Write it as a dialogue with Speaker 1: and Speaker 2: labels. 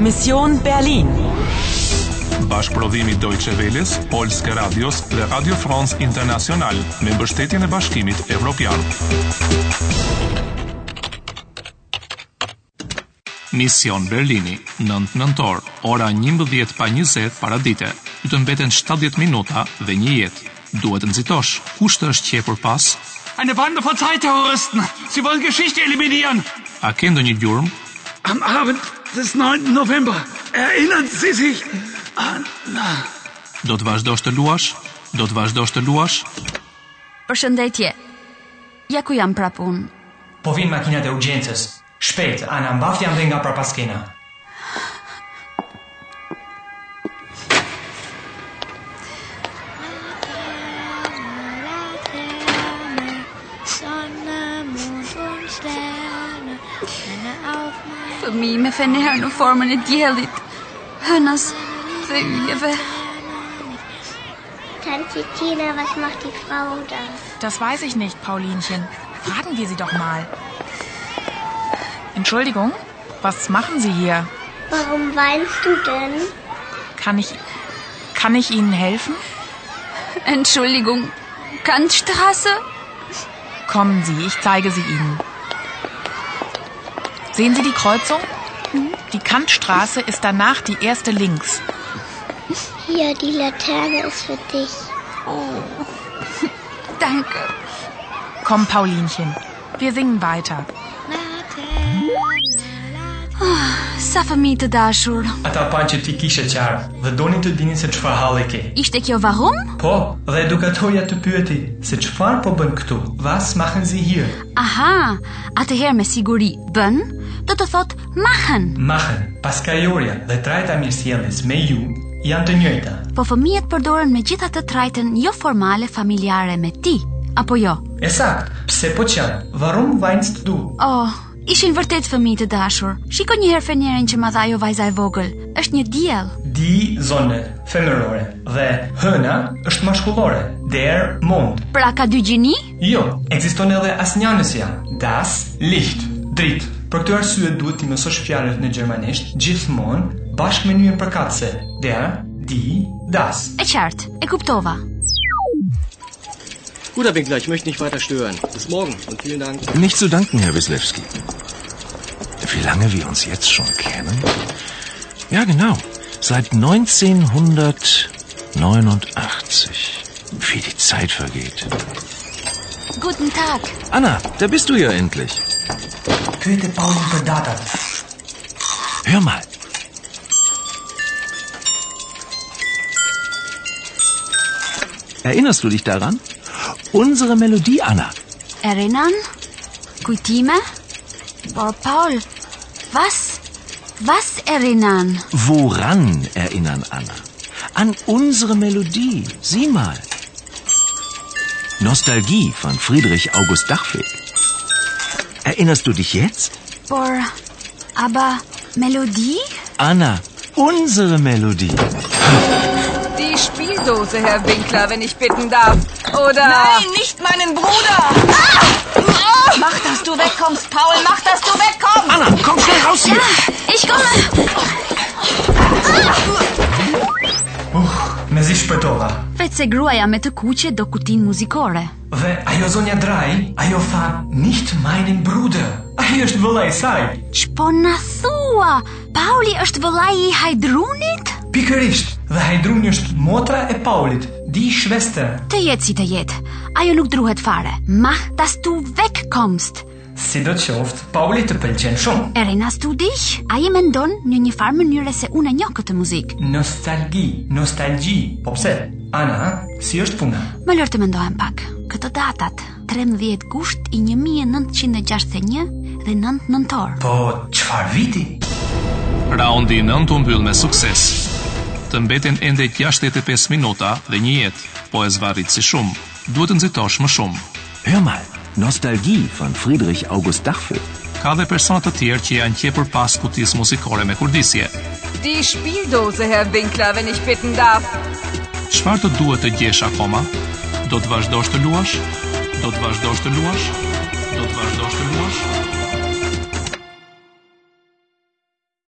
Speaker 1: Mission Berlin.
Speaker 2: Bashkëprodhimi Deutsche Welles, Polske Radios dhe Radio France International me mbështetjen e Bashkimit Evropian. Mision Berlini, 9 nëntor, ora 11 pa 20 para dite. Ju të mbeten 70 minuta dhe një jetë. Duhet nxitosh. Kush të është qepur pas?
Speaker 3: Eine Bande von Zeitterroristen. Sie wollen Geschichte eliminieren.
Speaker 2: A ke ndonjë gjurmë?
Speaker 3: Am Abend des 9. November. Erinnern Sie sich an...
Speaker 2: Do të vazhdosh të luash? Do të vazhdosh të luash?
Speaker 4: Përshëndetje. Ja ku jam prapë unë.
Speaker 5: Po vinë makinat e urgjencës. Shpejt, ana mbaft jam dhe nga prapaskena.
Speaker 6: Sonne, Mond und Sterne, Sterne auf mein
Speaker 4: Fëmi me fener në formën e djelit, hënës dhe yjeve.
Speaker 6: Tante Tina, was macht die Frau da?
Speaker 7: Das weiß ich nicht, Paulinchen. Fragen wir sie doch mal. Entschuldigung, was machen Sie hier?
Speaker 6: Warum weinst du denn?
Speaker 7: Kann ich kann ich Ihnen helfen?
Speaker 4: Entschuldigung, Kantstraße?
Speaker 7: Kommen Sie, ich zeige sie Ihnen. Sehen Sie die Kreuzung? Die Kantstraße ist danach die erste links.
Speaker 6: Hier, die Laterne ist für dich.
Speaker 4: Danke.
Speaker 7: Komm, Paulinchen, wir singen weiter.
Speaker 4: Sa fëmi të dashur.
Speaker 5: Ata pa që ti kishe qarë dhe donin të dinin se çfarë halli ke.
Speaker 4: Ishte kjo varum?
Speaker 5: Po, dhe edukatoja të pyeti se çfarë po bën këtu. Was machen Sie hier?
Speaker 4: Aha, atëherë me siguri bën, do të thot machen.
Speaker 5: Machen, paskajoria dhe trajta mirësjelljes me ju janë të njëjta.
Speaker 4: Po fëmijët përdoren me gjitha të trajten jo formale familjare me ti, apo jo?
Speaker 5: E sakt, pse po qarë? Varum weinst du?
Speaker 4: Oh, ishin vërtet fëmi të dashur. Shiko një herë fenerin që ma dha ajo vajza e vogël. Është një diell.
Speaker 5: Di zonne, femërore dhe hëna është mashkullore. Der Mond.
Speaker 4: Pra ka dy gjini?
Speaker 5: Jo, ekziston edhe asnjënësia. Das Licht, dritë. Për këtë arsye duhet të mësosh fjalët në gjermanisht gjithmonë bashkë me njën përkatëse. Der, die, das.
Speaker 4: E qartë, e kuptova.
Speaker 8: Gut, Herr Winkler, ich möchte nicht weiter stören. Bis morgen und vielen Dank.
Speaker 9: Nicht zu danken, Herr Wislewski. Wie lange wir uns jetzt schon kennen? Ja, genau. Seit 1989. Wie die Zeit vergeht.
Speaker 4: Guten Tag.
Speaker 9: Anna, da bist du ja endlich.
Speaker 5: Pyete Paulin për datat.
Speaker 9: Hör mal. Erinnerst du dich daran? Unsere Melodie, Anna.
Speaker 4: Erinnern? Kujtime? Por Paul, was? Was erinnern?
Speaker 9: Woran erinnern, Anna? An unsere Melodie. Sieh mal. Nostalgie von Friedrich August Dachweg. Erinnerst du dich jetzt?
Speaker 4: Por aber Melodie?
Speaker 9: Anna, unsere Melodie.
Speaker 10: Die Spieldose, Herr Winkler, wenn ich bitten darf. Oder. Nein, nicht meinen Bruder! Mach, dass du wegkommst, Paul, mach, dass du wegkommst!
Speaker 9: Anna, komm schnell raus hier!
Speaker 4: Ich komme.
Speaker 5: Uh, me zi shpëtova.
Speaker 4: Vetë se gruaja me të kuqe do kutin muzikore.
Speaker 5: Dhe ajo zonja Draj, ajo tha, nicht meinen Bruder. Ai është vëlla i saj.
Speaker 4: Çpo na thua? Pauli është vëllai i Hajdrunit?
Speaker 5: Pikërisht, dhe Hajdruni është motra e Paulit, di shvester.
Speaker 4: Të jetë si të jetë. Ajo nuk druhet fare. Mach, dass du wegkommst.
Speaker 5: Si do qoftë, Pauli të pëlqen shumë.
Speaker 4: Erinas du dich? Ai e mendon në një farë mënyre se unë e njoh këtë muzikë.
Speaker 5: Nostalgi, nostalgji. Po pse? Ana, si është puna?
Speaker 4: Më lër të mendohem pak. Këto datat, 13 gusht i 1961 dhe 9 nëntor.
Speaker 5: Po, çfarë viti?
Speaker 2: Raundi 9 u mbyll me sukses. Të mbeten ende 65 minuta dhe një jetë, po e zvarrit si shumë. Duhet të nxitosh më shumë.
Speaker 9: Hör mal. Nostalgie von Friedrich August Dachfeld.
Speaker 2: Ka dhe persona të tjerë që janë qepur pas kutis muzikore me kurdisje.
Speaker 10: Die Spieldose, Herr Winkler, wenn ich bitten darf.
Speaker 2: Çfarë të duhet të gjesh akoma? Do të vazhdosh të luash? Do të vazhdosh të luash? Do të vazhdosh të luash?